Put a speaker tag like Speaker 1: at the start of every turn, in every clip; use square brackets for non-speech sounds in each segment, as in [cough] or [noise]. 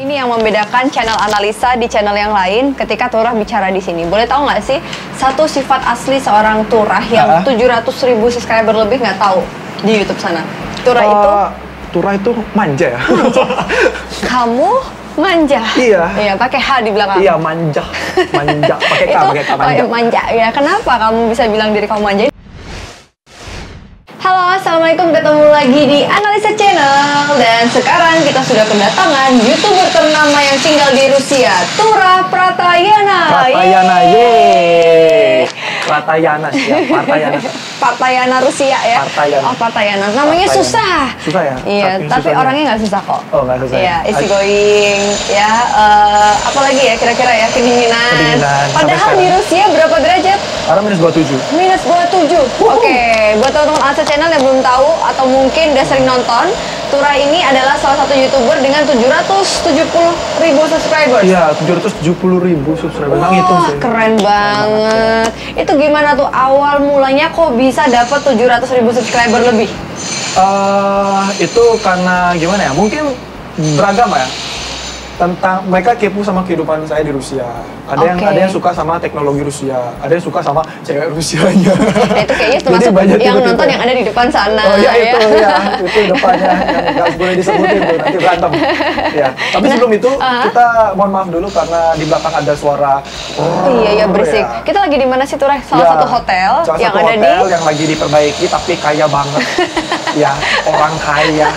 Speaker 1: nih yang membedakan channel analisa di channel yang lain ketika Turah bicara di sini? Boleh tahu nggak sih satu sifat asli seorang Turah yang
Speaker 2: Ah.
Speaker 1: 700.000 ribu subscriber lebih nggak tahu di YouTube sana? Turah
Speaker 2: Eh,
Speaker 1: itu
Speaker 2: Tura itu manja ya?
Speaker 1: kamu manja.
Speaker 2: Iya.
Speaker 1: Iya, pakai H di belakang.
Speaker 2: iya, manja. Manja. Pakai K,
Speaker 1: Itu
Speaker 2: pakai K, manja.
Speaker 1: pakai manja. Ya, kenapa kamu bisa bilang diri kamu manja? Halo, Assalamualaikum. Ketemu lagi di Analisa Channel. Dan sekarang kita sudah kedatangan YouTuber ternama yang tinggal di Rusia, Tura Pratayana.
Speaker 2: Ratayana,
Speaker 1: Iya. Yeay.
Speaker 2: yeay. Ratayana, siap. Ratayana.
Speaker 1: [laughs] Pratayana Rusia ya?
Speaker 2: Partayana.
Speaker 1: Oh, Pratayana. Namanya
Speaker 2: Partayana.
Speaker 1: susah.
Speaker 2: Susah ya?
Speaker 1: Iya,
Speaker 2: Saking
Speaker 1: tapi
Speaker 2: susahnya.
Speaker 1: orangnya nggak susah kok.
Speaker 2: Oh, nggak susah
Speaker 1: Iya,
Speaker 2: ya?
Speaker 1: easy going. Ya, eh, apalagi ya kira-kira ya, kedinginan.
Speaker 2: Kedinginan, sampai
Speaker 1: Padahal di
Speaker 2: sekarang.
Speaker 1: Rusia berapa derajat?
Speaker 2: Karena minus 27.
Speaker 1: Minus 27. Oke, buat teman-teman Alsa Channel yang belum tahu atau mungkin udah sering nonton, Tura ini adalah salah satu YouTuber dengan 770 ribu subscribers.
Speaker 2: Iya, 770 ribu subscriber. Nang itu
Speaker 1: Wah,
Speaker 2: sih.
Speaker 1: keren banget. Itu gimana tuh awal mulanya kok bisa dapat 700 ribu subscriber lebih?
Speaker 2: Eh, itu karena gimana ya? Mungkin beragam ya. Tentang mereka kepo sama kehidupan saya di Rusia. Ada yang
Speaker 1: Oke.
Speaker 2: ada yang suka sama teknologi Rusia, ada yang suka sama cewek Rusianya.
Speaker 1: Nah, itu
Speaker 2: [laughs]
Speaker 1: kayaknya
Speaker 2: Jadi
Speaker 1: termasuk
Speaker 2: banyak
Speaker 1: yang
Speaker 2: tipe-tipe.
Speaker 1: nonton yang ada di depan sana.
Speaker 2: Oh ya itu
Speaker 1: ya.
Speaker 2: ya, itu depannya yang nggak boleh disebutin tuh nanti berantem. Ya, tapi sebelum itu
Speaker 1: ah.
Speaker 2: kita mohon maaf dulu karena di belakang ada suara.
Speaker 1: Oh, [laughs] iya, iya,
Speaker 2: "Rrrr"
Speaker 1: berisik.
Speaker 2: ya.
Speaker 1: Kita lagi di mana sih, Turah? Salah
Speaker 2: Ya,
Speaker 1: satu hotel
Speaker 2: salah
Speaker 1: yang
Speaker 2: satu
Speaker 1: ada
Speaker 2: hotel
Speaker 1: di...
Speaker 2: yang lagi diperbaiki tapi kaya
Speaker 1: [laughs]
Speaker 2: banget. ya, orang kaya.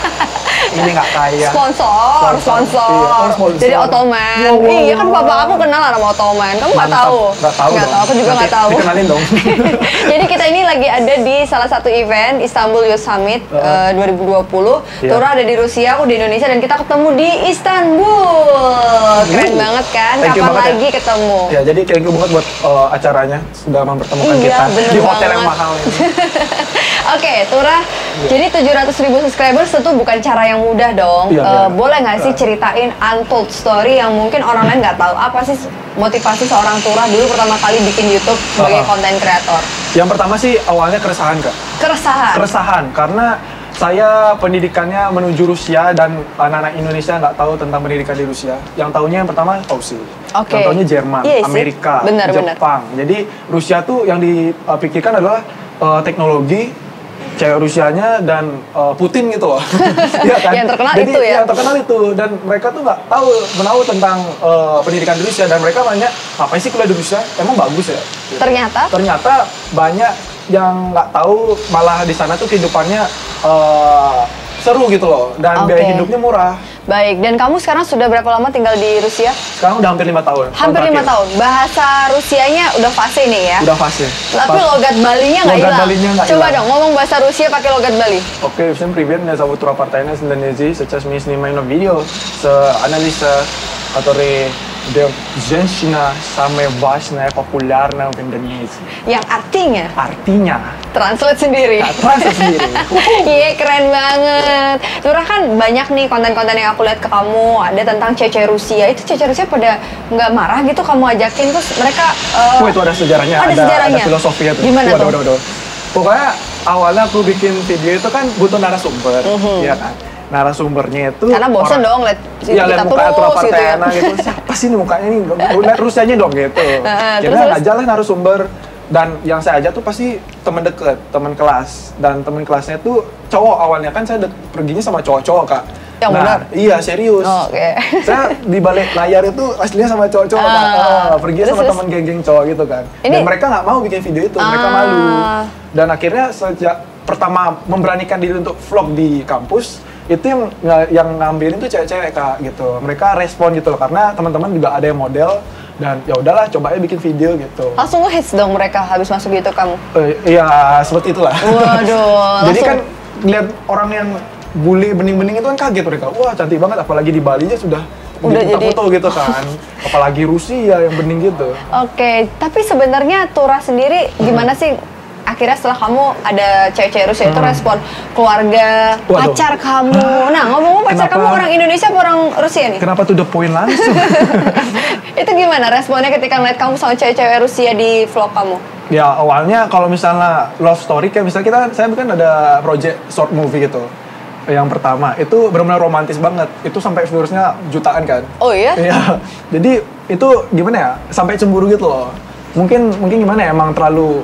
Speaker 2: Ini nggak kaya.
Speaker 1: Sponsor,
Speaker 2: Iya. Sponsor.
Speaker 1: sponsor.
Speaker 2: Iya, oh, sponsor.
Speaker 1: Jadi Ottoman.
Speaker 2: Wow, wow,
Speaker 1: iya kan
Speaker 2: wow.
Speaker 1: papa aku kenal lah sama Ottoman. Kamu nggak
Speaker 2: Mantap.
Speaker 1: tahu?
Speaker 2: Nggak tahu.
Speaker 1: Nggak
Speaker 2: dong.
Speaker 1: tahu. Aku juga
Speaker 2: Nanti
Speaker 1: nggak tahu.
Speaker 2: Dikenalin dong.
Speaker 1: [laughs] Jadi kita ini lagi ada di salah satu event Istanbul Youth Summit
Speaker 2: Uh.
Speaker 1: eh, 2020.
Speaker 2: Iya.
Speaker 1: Tura ada di Rusia, aku di Indonesia dan kita ketemu di Istanbul. Keren
Speaker 2: Wuh.
Speaker 1: banget kan?
Speaker 2: Thank you
Speaker 1: Kapan
Speaker 2: banget ya.
Speaker 1: lagi ketemu?
Speaker 2: ya, jadi thank you banget buat eh, acaranya sudah mempertemukan
Speaker 1: Iya,
Speaker 2: kita
Speaker 1: bener
Speaker 2: di hotel
Speaker 1: banget.
Speaker 2: yang mahal ini.
Speaker 1: [laughs] Oke, Tura. Jadi 700 ribu subscribers itu bukan cara yang mudah dong.
Speaker 2: Iya,
Speaker 1: Eh,
Speaker 2: iya.
Speaker 1: Boleh nggak sih
Speaker 2: Iya.
Speaker 1: ceritain untold story yang mungkin orang lain nggak tahu apa sih motivasi seorang Tura dulu pertama kali bikin YouTube sebagai
Speaker 2: Uh-uh.
Speaker 1: konten kreator?
Speaker 2: Yang pertama sih awalnya keresahan kak.
Speaker 1: Keresahan.
Speaker 2: keresahan karena saya pendidikannya menuju Rusia dan anak-anak Indonesia nggak tahu tentang pendidikan di Rusia. Yang tahunya yang pertama Aussie,
Speaker 1: Oke.
Speaker 2: yang tahunya Jerman,
Speaker 1: Iya sih.
Speaker 2: Amerika,
Speaker 1: Benar, benar.
Speaker 2: Jepang. Jadi Rusia tuh yang dipikirkan adalah eh, teknologi, cewek Rusianya dan eh, Putin gitu loh.
Speaker 1: [laughs]
Speaker 2: Iya kan?
Speaker 1: Yang terkenal
Speaker 2: Jadi,
Speaker 1: itu ya.
Speaker 2: Yang terkenal itu dan mereka tuh nggak tahu menahu tentang eh, pendidikan di Rusia dan mereka nanya apa sih kuliah di Rusia? Emang bagus ya? Gitu
Speaker 1: Ternyata
Speaker 2: ternyata banyak yang nggak tahu malah di sana tuh kehidupannya eh, seru gitu loh dan
Speaker 1: Oke.
Speaker 2: biaya hidupnya murah
Speaker 1: Baik, dan kamu sekarang sudah berapa lama tinggal di Rusia?
Speaker 2: sekarang udah hampir lima tahun tahun
Speaker 1: Hampir lima
Speaker 2: terakhir.
Speaker 1: tahun. Bahasa Rusianya udah fase nih ya.
Speaker 2: udah fase
Speaker 1: Tapi
Speaker 2: Fase.
Speaker 1: logat Balinya nggak
Speaker 2: Logat
Speaker 1: hilang.
Speaker 2: Balinya nggak
Speaker 1: Coba
Speaker 2: hilang.
Speaker 1: dong ngomong bahasa Rusia pakai logat Bali.
Speaker 2: Oke, всем привет, меня зовут Тура Партайна с Индонезии. Сейчас мы снимаем видео с анализа, который где женщина самая важная, популярная в Индонезии.
Speaker 1: Yang artinya
Speaker 2: Artinya,
Speaker 1: translate sendiri.
Speaker 2: nah, terasa sendiri.
Speaker 1: [laughs] Iya keren banget. Turah kan banyak nih konten-konten yang aku lihat ke kamu ada tentang cece Rusia. Itu cece Rusia pada nggak marah gitu kamu ajakin terus mereka. eh,
Speaker 2: Wah Oh, itu ada sejarahnya,
Speaker 1: Ada
Speaker 2: ada, ada,
Speaker 1: sejarahnya.
Speaker 2: filosofinya tuh.
Speaker 1: Gimana
Speaker 2: Waduh,
Speaker 1: tuh?
Speaker 2: waduh, waduh. Pokoknya awalnya aku bikin video itu kan butuh narasumber, ya kan. Narasumbernya itu
Speaker 1: Mm-hmm. Karena bosen
Speaker 2: orang-
Speaker 1: dong lihat
Speaker 2: Iya, lihat muka
Speaker 1: terus
Speaker 2: Tura
Speaker 1: gitu ya.
Speaker 2: Partayana gitu. Siapa sih ini mukanya nih? Lihat Rusianya dong gitu.
Speaker 1: [laughs] Heeh,
Speaker 2: Kita
Speaker 1: terus, terus?
Speaker 2: aja lah kan narasumber dan yang saya ajak tuh pasti teman deket, teman kelas dan teman kelasnya tuh cowok awalnya kan saya dek- perginya sama cowok-cowok kak.
Speaker 1: Yang
Speaker 2: nah,
Speaker 1: benar? Oh,
Speaker 2: Iya serius.
Speaker 1: Oke.
Speaker 2: [laughs] Saya di balik layar itu aslinya sama cowok-cowok kak.
Speaker 1: Ah,
Speaker 2: Ah, pergi
Speaker 1: terus,
Speaker 2: sama
Speaker 1: terus?
Speaker 2: teman geng-geng cowok gitu kan.
Speaker 1: Ini-
Speaker 2: Dan mereka nggak mau bikin video itu, mereka
Speaker 1: Ah.
Speaker 2: malu. Dan akhirnya sejak pertama memberanikan diri untuk vlog di kampus itu yang nga- yang ngambilin tuh cewek-cewek kak gitu. Mereka respon gitu loh karena teman-teman juga ada yang model dan ya udahlah coba aja bikin video gitu.
Speaker 1: Langsung ngehits dong mereka habis masuk YouTube
Speaker 2: [laughs]
Speaker 1: kamu.
Speaker 2: Eh, Iya seperti itulah.
Speaker 1: Waduh.
Speaker 2: [laughs] Jadi
Speaker 1: Oh, langsung-
Speaker 2: kan lihat orang yang bule bening-bening itu kan kaget mereka. Wah cantik banget apalagi di Bali aja sudah
Speaker 1: Udah jadi-
Speaker 2: foto gitu kan. apalagi Rusia yang bening gitu.
Speaker 1: Oke, tapi sebenarnya Tura sendiri
Speaker 2: Hmm.
Speaker 1: gimana sih akhirnya setelah kamu ada cewek-cewek Rusia itu respon keluarga,
Speaker 2: Waduh.
Speaker 1: pacar kamu. Nah, ngomong-ngomong pacar
Speaker 2: Kenapa?
Speaker 1: kamu orang Indonesia apa orang Rusia nih?
Speaker 2: Kenapa tuh the point langsung?
Speaker 1: [laughs] itu gimana responnya ketika ngeliat kamu sama cewek-cewek Rusia di vlog kamu?
Speaker 2: ya awalnya kalau misalnya love story kayak misalnya kita saya kan ada project short movie gitu yang pertama itu benar-benar romantis banget itu sampai viewersnya jutaan kan
Speaker 1: Oh iya?
Speaker 2: Iya. Jadi itu gimana ya? Sampai cemburu gitu loh. Mungkin mungkin gimana ya? Emang terlalu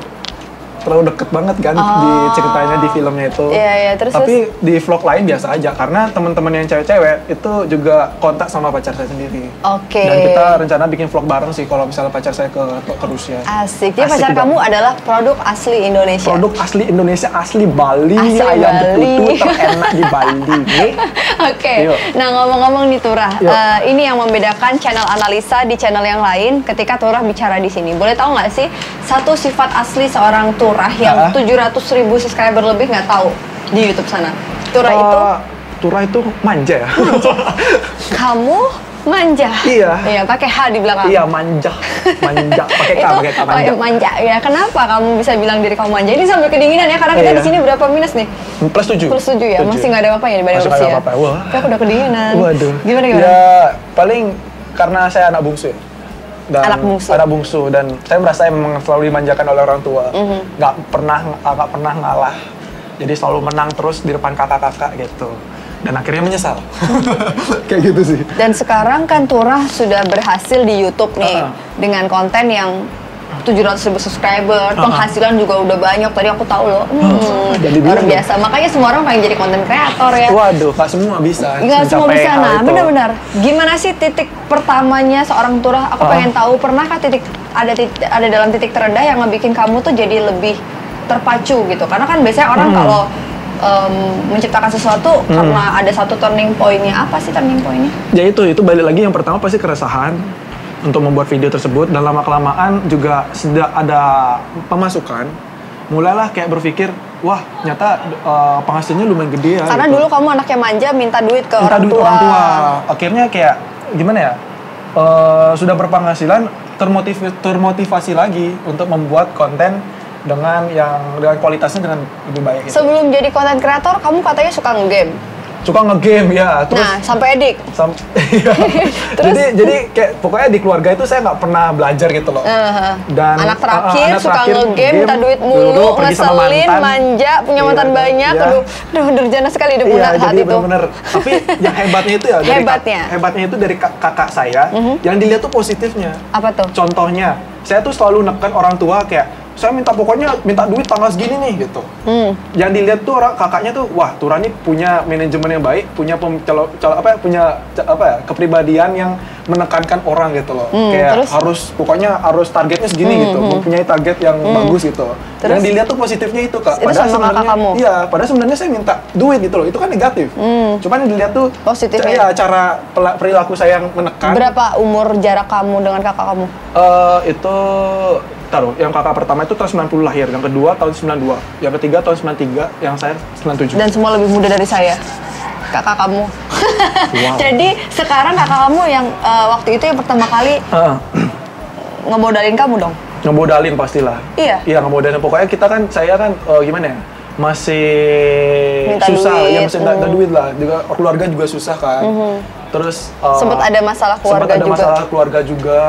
Speaker 2: terlalu deket banget kan di ceritanya di filmnya
Speaker 1: Oh.
Speaker 2: itu.
Speaker 1: Iya, iya. Terus,
Speaker 2: Tapi di vlog lain biasa aja karena teman-teman yang cewek-cewek itu juga kontak sama pacar saya sendiri.
Speaker 1: Oke.
Speaker 2: Dan kita rencana bikin vlog bareng sih kalau misalnya pacar saya ke ke Rusia.
Speaker 1: Asik. Jadi
Speaker 2: Asik
Speaker 1: pacar
Speaker 2: banget.
Speaker 1: kamu ya? adalah produk asli Indonesia.
Speaker 2: Produk asli Indonesia, asli Bali,
Speaker 1: Asli
Speaker 2: ayam
Speaker 1: Bali.
Speaker 2: betutu terenak di
Speaker 1: [laughs]
Speaker 2: Bali. Nih.
Speaker 1: Oke,
Speaker 2: Yuk.
Speaker 1: nah ngomong-ngomong nih Turah,
Speaker 2: Yuk.
Speaker 1: eh, ini yang membedakan channel analisa di channel yang lain ketika Turah bicara di sini. Boleh tahu nggak sih satu sifat asli seorang Turah yang
Speaker 2: Ah.
Speaker 1: 700.000 ribu subscriber lebih nggak tahu di YouTube sana? Turah
Speaker 2: Eh,
Speaker 1: itu
Speaker 2: Tura itu manja ya.
Speaker 1: [laughs] kamu manja.
Speaker 2: Iya.
Speaker 1: Iya, pakai H di belakang.
Speaker 2: Iya manja,
Speaker 1: [laughs]
Speaker 2: manja pakai K,
Speaker 1: Itu
Speaker 2: pakai K manja.
Speaker 1: pakai manja. Ya, kenapa kamu bisa bilang diri kamu manja? Ini sampai kedinginan ya karena kita
Speaker 2: Iya.
Speaker 1: di sini berapa minus nih?
Speaker 2: Plus tujuh.
Speaker 1: iya. Plus tujuh ya, masih nggak ada apa-apa ya dibanding
Speaker 2: Masih nggak
Speaker 1: Rusia.
Speaker 2: ada apa-apa, wah.
Speaker 1: Tapi aku udah kedinginan.
Speaker 2: Waduh.
Speaker 1: Gimana gimana?
Speaker 2: Ya paling karena saya anak bungsu. ya. Dan
Speaker 1: Anak bungsu.
Speaker 2: anak bungsu dan saya merasa memang selalu dimanjakan oleh orang tua.
Speaker 1: Mhm.
Speaker 2: Nggak pernah nggak pernah ngalah. Jadi selalu menang terus di depan kakak-kakak gitu. Dan akhirnya menyesal. [laughs] Kayak gitu sih.
Speaker 1: Dan sekarang kan Turah sudah berhasil di YouTube nih
Speaker 2: Uh-uh.
Speaker 1: dengan konten yang 700 ribu subscriber,
Speaker 2: Uh-uh.
Speaker 1: penghasilan juga udah banyak. Tadi aku tahu loh, hmm,
Speaker 2: Jadi
Speaker 1: luar
Speaker 2: bilang dong.
Speaker 1: biasa. Makanya semua orang pengen jadi konten kreator ya.
Speaker 2: Waduh, nggak semua bisa.
Speaker 1: Enggak semua
Speaker 2: mencapai
Speaker 1: bisa,
Speaker 2: hal
Speaker 1: nah
Speaker 2: itu.
Speaker 1: benar-benar. Gimana sih titik pertamanya seorang Turah? Aku
Speaker 2: Uh-uh.
Speaker 1: pengen tahu pernahkah titik ada tit- ada dalam titik terendah yang ngebikin kamu tuh jadi lebih terpacu gitu? Karena kan biasanya orang
Speaker 2: Hmm.
Speaker 1: kalau em, menciptakan sesuatu karena ada satu turning pointnya apa sih turning pointnya?
Speaker 2: ya itu itu balik lagi yang pertama pasti keresahan untuk membuat video tersebut dan lama kelamaan juga sudah ada pemasukan mulailah kayak berpikir wah nyata eh, penghasilannya lumayan gede ya
Speaker 1: Karena
Speaker 2: gitu.
Speaker 1: dulu kamu anaknya manja minta duit ke
Speaker 2: Minta
Speaker 1: orang,
Speaker 2: duit
Speaker 1: tua.
Speaker 2: orang tua akhirnya kayak gimana ya Eh, sudah berpenghasilan termotiv termotivasi lagi untuk membuat konten dengan yang dengan kualitasnya dengan lebih baik gitu.
Speaker 1: Sebelum jadi konten kreator, kamu katanya suka nge-game.
Speaker 2: suka ngegame ya terus
Speaker 1: Nah, sampai edik.
Speaker 2: Sam- [laughs] iya. jadi jadi kayak pokoknya di keluarga itu saya nggak pernah belajar gitu loh
Speaker 1: Eh,
Speaker 2: dan
Speaker 1: anak
Speaker 2: uh,
Speaker 1: terakhir
Speaker 2: anak
Speaker 1: suka
Speaker 2: terakhir
Speaker 1: nge-game, minta
Speaker 2: game,
Speaker 1: duit mulu,
Speaker 2: dulu pergi sama
Speaker 1: ngeselin,
Speaker 2: mantan.
Speaker 1: manja, punya
Speaker 2: Iya,
Speaker 1: mantan
Speaker 2: kan?
Speaker 1: banyak.
Speaker 2: Iya.
Speaker 1: Aduh, aduh durjana sekali dia punya
Speaker 2: Iya,
Speaker 1: saat
Speaker 2: jadi
Speaker 1: itu.
Speaker 2: bener-bener. Tapi yang hebatnya itu ya dari kak-
Speaker 1: Hebatnya. Mhm.
Speaker 2: hebatnya itu dari kak- kakak saya. Yang dilihat tuh positifnya.
Speaker 1: Apa tuh?
Speaker 2: Contohnya, saya tuh selalu neken orang tua kayak saya minta pokoknya minta duit tanggal segini nih gitu.
Speaker 1: Hmm.
Speaker 2: Yang dilihat tuh orang kakaknya tuh wah Turani punya manajemen yang baik, punya pem, calo- calo- apa ya, punya ca- apa ya, kepribadian yang menekankan orang gitu loh.
Speaker 1: Hmm,
Speaker 2: kayak
Speaker 1: terus? Hmm,
Speaker 2: harus pokoknya harus targetnya segini gitu, mempunyai target yang bagus gitu.
Speaker 1: Terus?
Speaker 2: Yang dilihat tuh positifnya itu Kak.
Speaker 1: Itu sama kakak
Speaker 2: sebenarnya-
Speaker 1: kamu?
Speaker 2: Iya, padahal sebenarnya saya minta duit gitu loh. Itu kan negatif. Cuman yang dilihat tuh
Speaker 1: Hmm. Positifnya.
Speaker 2: ca- Iya, cara pela- perilaku saya yang menekan.
Speaker 1: Berapa umur jarak kamu dengan kakak kamu?
Speaker 2: Eh, itu taruh yang kakak pertama itu tahun 90 lahir, yang kedua tahun 92, yang ketiga tahun 93, yang saya 97.
Speaker 1: Dan semua lebih muda dari saya. Kakak kamu. [laughs]
Speaker 2: Wow.
Speaker 1: Jadi sekarang kakak kamu yang eh, waktu itu yang pertama kali
Speaker 2: Heeh.
Speaker 1: ngemodalin kamu dong.
Speaker 2: ngemodalin pastilah.
Speaker 1: Iya.
Speaker 2: Iya, ngemodalin. Pokoknya kita kan saya kan eh, gimana ya? Masih
Speaker 1: Minta
Speaker 2: susah
Speaker 1: duit,
Speaker 2: ya masih minta minta
Speaker 1: mm.
Speaker 2: duit lah. Juga keluarga juga susah kan. Terus eh,
Speaker 1: Sempet ada masalah
Speaker 2: sempat
Speaker 1: keluarga
Speaker 2: ada
Speaker 1: juga.
Speaker 2: masalah keluarga juga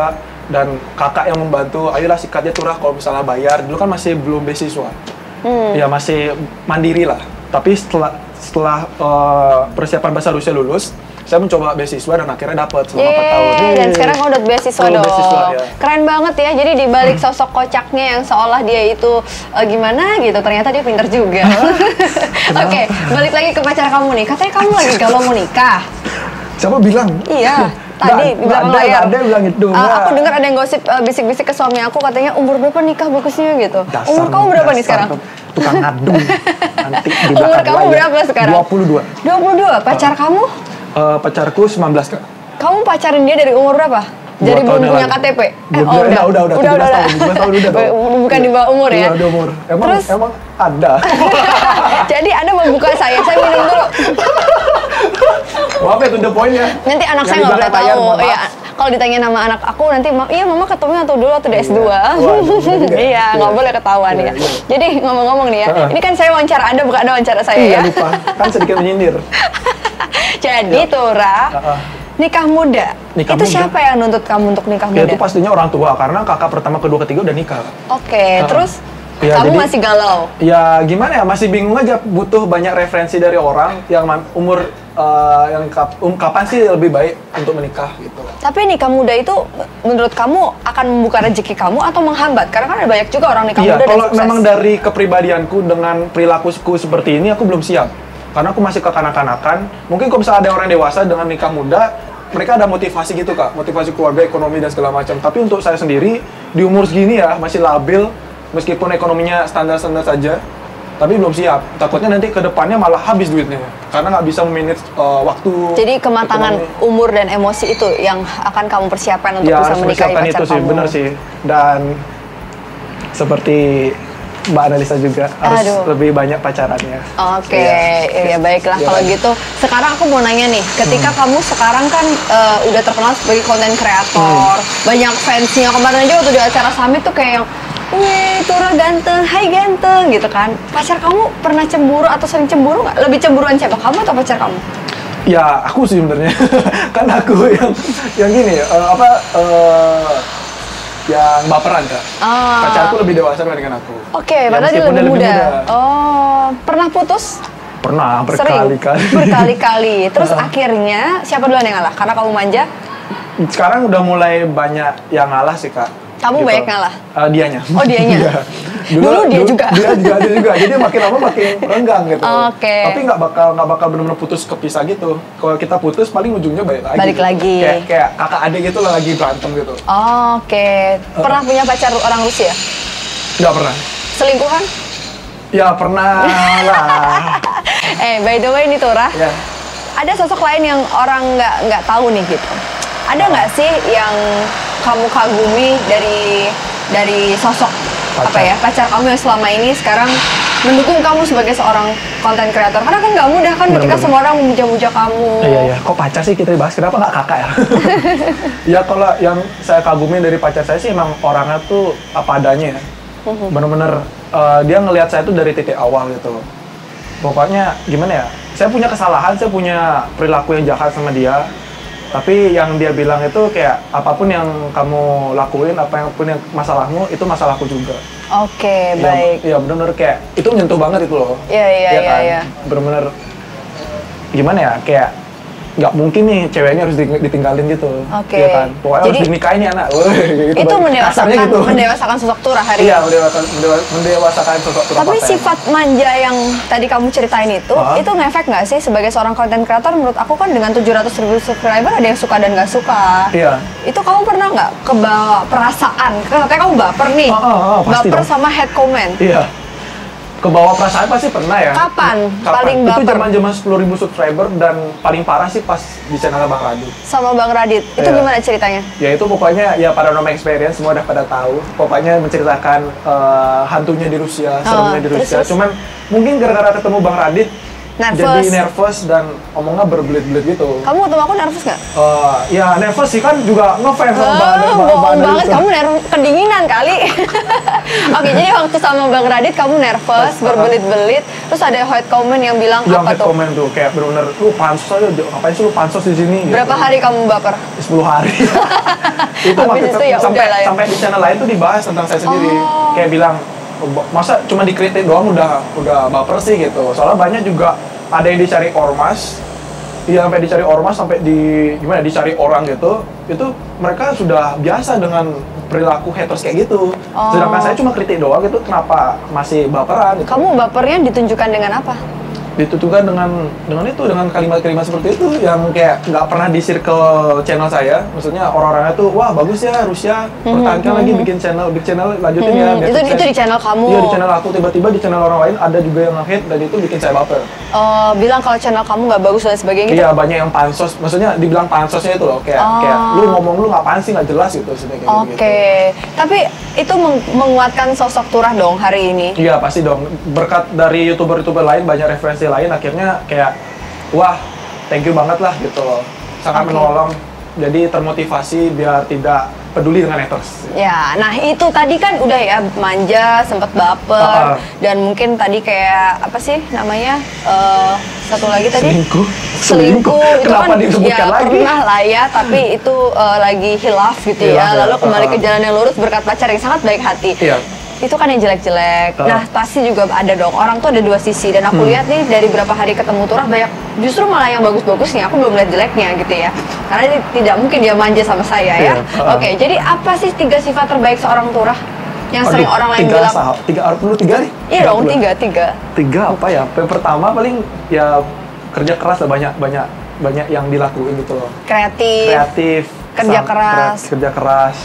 Speaker 2: dan kakak yang membantu, ayolah sikatnya turah kalau misalnya bayar. Dulu kan masih belum beasiswa.
Speaker 1: Hmm.
Speaker 2: Ya masih mandiri lah. Tapi setelah setelah eh, persiapan bahasa Rusia lulus, saya mencoba beasiswa dan akhirnya dapat selama 4 tahun.
Speaker 1: Yeay, Iya, dan
Speaker 2: Yeay.
Speaker 1: sekarang kamu udah beasiswa
Speaker 2: Udah
Speaker 1: dong.
Speaker 2: beasiswa, ya. Hmm.
Speaker 1: Keren banget ya. Jadi di balik sosok kocaknya yang seolah dia itu eh, gimana gitu, ternyata dia pinter juga. [laughs] Oke, balik lagi ke pacar kamu nih. Katanya kamu lagi galau mau nikah.
Speaker 2: Siapa bilang?
Speaker 1: Iya, tadi di
Speaker 2: [laughs] nggak
Speaker 1: belakang
Speaker 2: ada, nggak
Speaker 1: layar.
Speaker 2: ada yang bilang itu.
Speaker 1: Eh,
Speaker 2: nggak.
Speaker 1: aku dengar ada yang gosip eh, bisik-bisik ke suami aku katanya umur berapa nikah bagusnya gitu.
Speaker 2: Dasar
Speaker 1: umur kamu berapa nih
Speaker 2: dasar
Speaker 1: sekarang?
Speaker 2: tuh
Speaker 1: [laughs]
Speaker 2: Tukang ngadu. Nanti di
Speaker 1: Umur
Speaker 2: belakang
Speaker 1: kamu
Speaker 2: layar.
Speaker 1: berapa sekarang?
Speaker 2: 22.
Speaker 1: 22. Pacar kamu?
Speaker 2: Eh, pacarku 19 kak.
Speaker 1: Kamu pacarin dia dari umur berapa? Jadi belum
Speaker 2: Dua tahun yang
Speaker 1: punya
Speaker 2: lalu.
Speaker 1: KTP?
Speaker 2: Belum, udah, udah, udah, udah, 17 tahun, 17 tahun udah tau.
Speaker 1: [laughs] Bukan di bawah umur ya?
Speaker 2: Iya, udah umur. Emang,
Speaker 1: Terus,
Speaker 2: emang ada.
Speaker 1: [laughs] jadi Anda membuka saya, saya minum dulu.
Speaker 2: Maaf ya, to the point ya.
Speaker 1: Nanti anak
Speaker 2: Yang
Speaker 1: saya
Speaker 2: di
Speaker 1: nggak boleh
Speaker 2: belakang layar,
Speaker 1: tahu.
Speaker 2: mohon
Speaker 1: Iya,
Speaker 2: maaf.
Speaker 1: kalau ditanya nama anak aku nanti, "Ma- iya mama ketemunya atau dulu atau di S2. [laughs]
Speaker 2: Waduh, bener juga.
Speaker 1: Iya, nggak
Speaker 2: Iya.
Speaker 1: boleh ketahuan
Speaker 2: Iya,
Speaker 1: ya.
Speaker 2: iya.
Speaker 1: Jadi ngomong-ngomong nih ya,
Speaker 2: Heeh.
Speaker 1: ini kan saya wawancara Anda, bukan Anda wawancara saya
Speaker 2: Iya,
Speaker 1: ya.
Speaker 2: lupa. Kan sedikit menyindir.
Speaker 1: [laughs] Jadi Tora,
Speaker 2: Iya. Heeh.
Speaker 1: nikah muda,
Speaker 2: Nikah
Speaker 1: itu
Speaker 2: muda.
Speaker 1: siapa yang nuntut kamu untuk nikah
Speaker 2: Ya
Speaker 1: muda?
Speaker 2: itu pastinya orang tua, karena kakak pertama, kedua, ketiga udah nikah.
Speaker 1: Oke,
Speaker 2: Heeh.
Speaker 1: terus
Speaker 2: Iya,
Speaker 1: Kamu
Speaker 2: jadi-
Speaker 1: masih galau.
Speaker 2: Ya gimana ya masih bingung aja butuh banyak referensi dari orang yang man- umur eh, yang kap- um, kapan sih lebih baik untuk menikah gitu.
Speaker 1: Tapi nikah muda itu menurut kamu akan membuka rezeki kamu atau menghambat? Karena kan ada banyak juga orang nikah
Speaker 2: Iya,
Speaker 1: muda dan
Speaker 2: kalau
Speaker 1: sukses.
Speaker 2: memang dari kepribadianku dengan perilakuku seperti ini aku belum siap. Karena aku masih kekanak-kanakan. Mungkin kalau misalnya ada orang dewasa dengan nikah muda, mereka ada motivasi gitu kak, motivasi keluarga, ekonomi dan segala macam. Tapi untuk saya sendiri di umur segini ya masih labil, meskipun ekonominya standar-standar saja, tapi belum siap. Takutnya nanti ke depannya malah habis duitnya, karena nggak bisa memanage eh, waktu.
Speaker 1: Jadi kematangan
Speaker 2: ekonomi.
Speaker 1: umur dan emosi itu yang akan kamu persiapkan untuk
Speaker 2: ya
Speaker 1: bisa
Speaker 2: harus
Speaker 1: menikahi
Speaker 2: mempersiapkan
Speaker 1: pacar
Speaker 2: itu sih,
Speaker 1: kamu.
Speaker 2: bener sih. Dan seperti Mbak Analisa juga harus
Speaker 1: Aduh.
Speaker 2: lebih banyak pacarannya.
Speaker 1: Oke,
Speaker 2: Iya.
Speaker 1: ya baiklah
Speaker 2: Iya.
Speaker 1: kalau gitu. Sekarang aku mau nanya nih, ketika kamu sekarang kan eh, udah terkenal sebagai konten kreator, banyak fansnya. Kemarin aja waktu di acara summit tuh kayak yang, wih Tura ganteng, hai ganteng gitu kan. Pacar kamu pernah cemburu atau sering cemburu nggak? Lebih cemburuan siapa? Kamu atau pacar kamu?
Speaker 2: Ya aku sih sebenarnya [laughs] kan aku yang yang gini eh, apa eh, yang baperan kak.
Speaker 1: Ah.
Speaker 2: Pacarku lebih dewasa dibandingkan aku.
Speaker 1: Oke,
Speaker 2: Ya,
Speaker 1: padahal dia
Speaker 2: meskipun
Speaker 1: lebih muda. Oh, pernah putus?
Speaker 2: Pernah
Speaker 1: Sering?
Speaker 2: berkali-kali.
Speaker 1: [laughs]
Speaker 2: [laughs]
Speaker 1: Berkali-kali. Terus
Speaker 2: Ah.
Speaker 1: akhirnya siapa duluan yang ngalah? Karena kamu manja.
Speaker 2: Sekarang udah mulai banyak yang ngalah sih kak.
Speaker 1: Kamu banyak ngalah?
Speaker 2: Eh, dianya.
Speaker 1: Oh, dianya.
Speaker 2: [laughs] Iya.
Speaker 1: Dulu dia juga.
Speaker 2: Dia juga dia juga. Jadi makin lama makin renggang gitu.
Speaker 1: Oke.
Speaker 2: Tapi nggak bakal nggak bakal benar-benar putus kepisah gitu. Kalau kita putus paling ujungnya balik lagi.
Speaker 1: Balik lagi.
Speaker 2: Kayak, kayak kakak adik gitu lah lagi berantem gitu.
Speaker 1: Oke, pernah punya pacar orang Rusia?
Speaker 2: Nggak pernah.
Speaker 1: Selingkuhan?
Speaker 2: Ya pernah
Speaker 1: [laughs]
Speaker 2: lah.
Speaker 1: Eh, by the way nih Tura,
Speaker 2: Ya.
Speaker 1: ada sosok lain yang orang nggak nggak tahu nih gitu. Ada nggak sih yang kamu kagumi dari dari sosok
Speaker 2: Pacar.
Speaker 1: apa ya pacar kamu yang selama ini sekarang mendukung kamu sebagai seorang konten kreator? Karena kan nggak mudah kan ketika
Speaker 2: Bener-bener.
Speaker 1: semua orang memuja-muja kamu.
Speaker 2: Iya iya. Kok pacar sih kita bahas? Kenapa nggak kakak ya? ya kalau yang saya kagumi dari pacar saya sih emang orangnya tuh apa adanya ya. Bener-bener eh, dia ngelihat saya tuh dari titik awal gitu. Pokoknya gimana ya? Saya punya kesalahan, saya punya perilaku yang jahat sama dia. Tapi yang dia bilang itu kayak apapun yang kamu lakuin, apa yang pun yang masalahmu itu masalahku juga.
Speaker 1: Oke,
Speaker 2: Iya,
Speaker 1: baik.
Speaker 2: Iya benar-benar kayak itu menyentuh banget itu loh.
Speaker 1: Iya, iya, iya,
Speaker 2: kan?
Speaker 1: iya.
Speaker 2: Benar-benar gimana ya kayak nggak mungkin nih cewek ini harus di- ditinggalin gitu.
Speaker 1: Oke.
Speaker 2: Iya kan. Pokoknya
Speaker 1: Jadi-
Speaker 2: harus dinikahin nih anak. Woi, kayak [laughs] gitu.
Speaker 1: Itu
Speaker 2: Bang.
Speaker 1: mendewasakan
Speaker 2: Kasarnya gitu.
Speaker 1: mendewasakan sosok Tura hari
Speaker 2: Iya,
Speaker 1: ini.
Speaker 2: mendewasakan mendewa- mendewasakan sosok sosok
Speaker 1: Tapi
Speaker 2: pasangan.
Speaker 1: sifat manja yang tadi kamu ceritain itu,
Speaker 2: Hah?
Speaker 1: itu ngefek nggak sih sebagai seorang konten kreator? Menurut aku kan dengan 700 ribu subscriber ada yang suka dan nggak suka.
Speaker 2: Iya.
Speaker 1: Itu kamu pernah nggak kebawa perasaan? Katanya kamu baper nih,
Speaker 2: Oh, oh, oh, pasti
Speaker 1: baper
Speaker 2: dong.
Speaker 1: sama head comment.
Speaker 2: Iya. Ke bawah perasaan pasti pernah ya.
Speaker 1: Kapan? Paling
Speaker 2: Itu
Speaker 1: baper?
Speaker 2: zaman-zaman 10.000 subscriber dan paling parah sih pas di channel Bang Radit.
Speaker 1: Sama Bang Radit, itu
Speaker 2: Iya.
Speaker 1: gimana ceritanya?
Speaker 2: ya itu pokoknya ya paranormal experience semua udah pada tahu pokoknya menceritakan eh, hantunya di Rusia seremnya di
Speaker 1: Oh, terus,
Speaker 2: Rusia
Speaker 1: terus?
Speaker 2: cuman mungkin gara-gara ketemu Bang Radit
Speaker 1: Nervous. Oh.
Speaker 2: jadi nervous dan omongnya berbelit-belit gitu
Speaker 1: Kamu ketemu aku nervous nggak?
Speaker 2: Eh, ya nervous sih kan juga ngefans
Speaker 1: Oh,
Speaker 2: sama Bang Bang- Bang
Speaker 1: bohong
Speaker 2: Radit gitu.
Speaker 1: banget,
Speaker 2: tuh.
Speaker 1: kamu nervous, kedinginan kali. [laughs] Oke, jadi waktu sama Bang Radit kamu nervous, berbelit-belit, terus ada head comment yang bilang apa
Speaker 2: yang uh-huh. head
Speaker 1: tuh?
Speaker 2: comment tuh kayak bener-bener lu pansos aja ngapain sih lu pansos di sini gitu.
Speaker 1: Berapa hari kamu baper? [laughs]
Speaker 2: 10 hari itu
Speaker 1: Habis
Speaker 2: maksudnya
Speaker 1: itu ya
Speaker 2: sampai
Speaker 1: udah lah ya.
Speaker 2: sampai di channel lain tuh dibahas tentang saya sendiri
Speaker 1: Oh.
Speaker 2: kayak bilang masa cuma dikritik doang udah udah baper sih gitu soalnya banyak juga ada yang dicari ormas Iya sampai dicari ormas sampai di gimana dicari orang gitu itu mereka sudah biasa dengan perilaku haters kayak gitu
Speaker 1: Oh.
Speaker 2: sedangkan saya cuma kritik doang gitu kenapa masih baperan gitu.
Speaker 1: Kamu bapernya ditunjukkan dengan apa?
Speaker 2: ditutukan dengan dengan itu dengan kalimat-kalimat seperti itu yang kayak nggak pernah di circle channel saya maksudnya orang-orangnya tuh wah bagus ya Rusia
Speaker 1: Hmm,
Speaker 2: pertahankan lagi bikin channel bikin channel lanjutin ya
Speaker 1: Mhm,
Speaker 2: biar
Speaker 1: itu-
Speaker 2: sukses."
Speaker 1: itu di channel kamu.
Speaker 2: iya di channel aku tiba-tiba di channel orang lain ada juga yang hate dan itu bikin saya baper
Speaker 1: Eh, bilang kalau channel kamu nggak bagus dan sebagainya gitu.
Speaker 2: iya banyak yang pansos maksudnya dibilang pansosnya itu loh kayak
Speaker 1: Oh.
Speaker 2: kayak lu ngomong lu ngapain sih nggak jelas gitu sebenarnya kayak
Speaker 1: Oke,
Speaker 2: gitu
Speaker 1: tapi itu meng- menguatkan sosok Turah dong hari ini.
Speaker 2: Iya pasti dong. Berkat dari youtuber-youtuber lain banyak referensi lain, akhirnya kayak wah thank you banget lah gitu loh. Sangat
Speaker 1: Oke.
Speaker 2: menolong. Jadi termotivasi biar tidak peduli dengan haters.
Speaker 1: Ya, nah itu tadi kan udah ya manja, sempet
Speaker 2: Ah, ah.
Speaker 1: baper, dan mungkin tadi kayak apa sih namanya eh, satu lagi tadi
Speaker 2: Selingkuh.
Speaker 1: selingkuh itu
Speaker 2: Kenapa
Speaker 1: kan
Speaker 2: disebutkan
Speaker 1: ya
Speaker 2: lagi?
Speaker 1: pernah lah ya, tapi itu eh, lagi hilaf gitu
Speaker 2: Hilaf
Speaker 1: ya,
Speaker 2: ya,
Speaker 1: lalu kembali
Speaker 2: ah,
Speaker 1: ke
Speaker 2: ah.
Speaker 1: jalan yang lurus berkat pacar yang sangat baik hati.
Speaker 2: Iya.
Speaker 1: itu kan yang jelek-jelek.
Speaker 2: Oh.
Speaker 1: Nah, pasti juga ada dong. Orang tuh ada dua sisi dan
Speaker 2: Hmm.
Speaker 1: aku lihat nih dari berapa hari ketemu Turah banyak justru malah yang bagus-bagusnya aku belum lihat jeleknya gitu ya. Karena ini tidak mungkin dia manja sama saya ya.
Speaker 2: Iya, uh-uh.
Speaker 1: Oke, jadi apa sih tiga sifat terbaik seorang Turah yang
Speaker 2: Aduh,
Speaker 1: sering orang lain
Speaker 2: tiga
Speaker 1: bilang?
Speaker 2: saham. tiga orang perlu tiga nih
Speaker 1: Iya dong,
Speaker 2: perlu.
Speaker 1: tiga, tiga.
Speaker 2: tiga apa ya yang pertama paling ya kerja keras lah banyak banyak banyak yang dilakuin gitu loh
Speaker 1: Kreatif.
Speaker 2: kreatif
Speaker 1: Iya. Kerja
Speaker 2: sam-
Speaker 1: keras.
Speaker 2: kre- kerja keras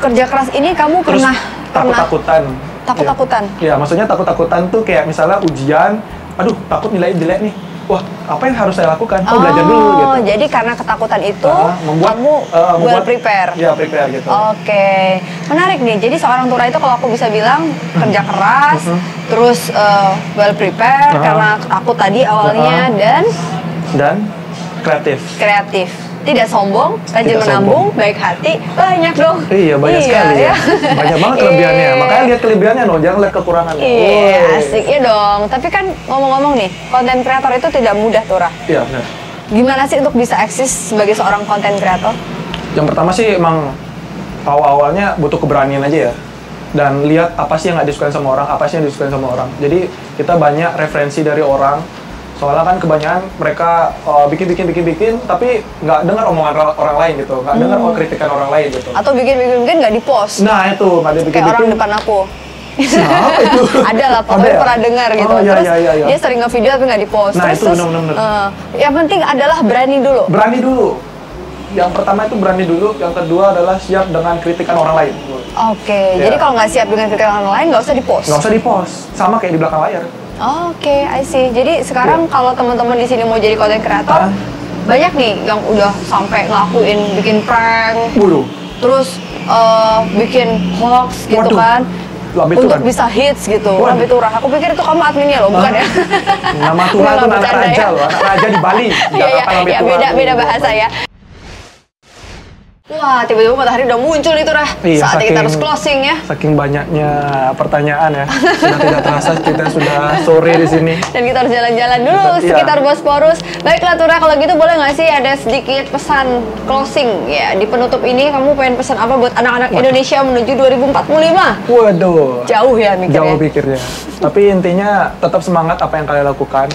Speaker 1: Kerja keras ini kamu
Speaker 2: terus
Speaker 1: pernah
Speaker 2: takut
Speaker 1: pernah
Speaker 2: takutan
Speaker 1: Takut-takutan?
Speaker 2: ya maksudnya takut takutan tuh kayak misalnya ujian aduh takut nilai jelek nih wah apa yang harus saya lakukan oh, belajar dulu gitu
Speaker 1: Oh, jadi karena ketakutan itu
Speaker 2: Ah,
Speaker 1: kamu
Speaker 2: eh,
Speaker 1: well prepare. Oh.
Speaker 2: ya prepare gitu
Speaker 1: Oke, menarik nih. Jadi seorang Tura itu kalau aku bisa bilang
Speaker 2: Hmm.
Speaker 1: kerja keras, terus eh, well prepared
Speaker 2: Ah.
Speaker 1: karena aku tadi awalnya
Speaker 2: Ah.
Speaker 1: dan
Speaker 2: dan kreatif
Speaker 1: kreatif. Tidak sombong, rajin
Speaker 2: Tidak
Speaker 1: menambung, baik hati, banyak dong.
Speaker 2: Iya banyak sekali ya. Banyak banget kelebihannya.
Speaker 1: [laughs] Iya.
Speaker 2: Makanya lihat kelebihannya dong, jangan lihat kekurangannya.
Speaker 1: Iya,
Speaker 2: Woi.
Speaker 1: asik ya dong. Tapi kan ngomong-ngomong nih, konten kreator itu tidak mudah, Tura.
Speaker 2: Iya benar.
Speaker 1: Gimana sih untuk bisa eksis sebagai seorang konten kreator?
Speaker 2: Yang pertama sih emang awal-awalnya butuh keberanian aja ya. Dan lihat apa sih yang nggak disukain sama orang, apa sih yang disukain sama orang. Jadi kita banyak referensi dari orang. Soalnya kan kebanyakan mereka uh, bikin-bikin bikin-bikin, tapi nggak dengar omongan ra- orang lain gitu, nggak dengar
Speaker 1: Hmm.
Speaker 2: kritikan orang lain gitu.
Speaker 1: Atau bikin-bikin nggak di-post?
Speaker 2: Nah itu nggak ada
Speaker 1: kayak orang
Speaker 2: bikin-bikin.
Speaker 1: depan
Speaker 2: [coughs]
Speaker 1: aku
Speaker 2: Nah, apa itu?
Speaker 1: [laughs] ada lah pokoknya
Speaker 2: Ada ya?
Speaker 1: pernah dengar gitu
Speaker 2: Oh, iya,
Speaker 1: terus
Speaker 2: iya, iya, iya.
Speaker 1: dia sering nge-video tapi nggak di-post
Speaker 2: Nah,
Speaker 1: terus,
Speaker 2: itu
Speaker 1: terus,
Speaker 2: benar-benar.
Speaker 1: eh, yang penting adalah berani dulu
Speaker 2: Berani dulu. Yang pertama itu berani dulu, yang kedua adalah siap dengan kritikan orang lain.
Speaker 1: oke
Speaker 2: Iya.
Speaker 1: jadi kalau nggak siap dengan kritikan orang lain nggak usah di-post
Speaker 2: nggak usah di post sama kayak di belakang layar
Speaker 1: oke I see jadi sekarang
Speaker 2: Iya.
Speaker 1: kalau teman-teman di sini mau jadi konten kreator
Speaker 2: Ah.
Speaker 1: banyak nih yang udah sampai ngelakuin bikin prank
Speaker 2: bulu
Speaker 1: terus eh, bikin hoax gitu
Speaker 2: Waduh.
Speaker 1: kan
Speaker 2: Lebih
Speaker 1: untuk
Speaker 2: Turan.
Speaker 1: bisa hits gitu
Speaker 2: Waduh.
Speaker 1: lebih turah aku pikir itu kamu adminnya loh bukan ya
Speaker 2: nama Tuhan
Speaker 1: Nggak
Speaker 2: itu anak
Speaker 1: bercanda
Speaker 2: raja
Speaker 1: ya.
Speaker 2: loh anak raja di Bali
Speaker 1: Iya,
Speaker 2: Jakarta
Speaker 1: iya,
Speaker 2: namanya
Speaker 1: iya,
Speaker 2: Tuhan
Speaker 1: beda
Speaker 2: tuh.
Speaker 1: beda bahasa ya. Wah, tiba-tiba matahari udah muncul itu Rah. Saatnya
Speaker 2: Iya,
Speaker 1: kita
Speaker 2: saking-
Speaker 1: harus closing ya.
Speaker 2: saking banyaknya pertanyaan ya sudah tidak terasa kita sudah sore di sini
Speaker 1: Dan kita harus jalan-jalan dulu
Speaker 2: Iya.
Speaker 1: sekitar Bosporus. Baiklah Tura, kalau gitu boleh nggak sih ada sedikit pesan closing ya di penutup ini kamu pengen pesan apa buat anak-anak Indonesia menuju 2045?
Speaker 2: waduh
Speaker 1: Jauh ya mikirnya.
Speaker 2: jauh pikirnya tapi intinya tetap semangat apa yang kalian lakukan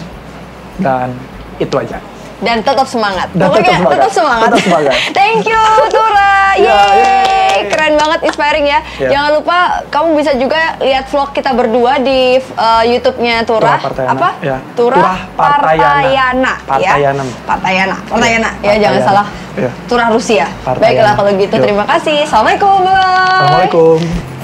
Speaker 2: dan itu aja
Speaker 1: Dan tetap semangat.
Speaker 2: Dan
Speaker 1: Pokoknya
Speaker 2: tetap
Speaker 1: tetap semangat.
Speaker 2: semangat. Tetap semangat.
Speaker 1: [laughs] Thank you Tura.
Speaker 2: [laughs] Ya,
Speaker 1: Yeay.
Speaker 2: yeay.
Speaker 1: Keren banget inspiring ya.
Speaker 2: Ya.
Speaker 1: Jangan lupa kamu bisa juga lihat vlog kita berdua di uh, YouTube-nya Tura.
Speaker 2: Turah Partayana,
Speaker 1: Apa?
Speaker 2: ya.
Speaker 1: Tura,
Speaker 2: Turah Partayana.
Speaker 1: Partayana.
Speaker 2: Partayana.
Speaker 1: Ya. Partayana. Partayana. Ya,
Speaker 2: Partayana.
Speaker 1: jangan salah.
Speaker 2: Ya.
Speaker 1: Turah Rusia.
Speaker 2: Partayana.
Speaker 1: Baiklah kalau gitu
Speaker 2: Yuk.
Speaker 1: terima kasih. Assalamualaikum. Bye.
Speaker 2: assalamualaikum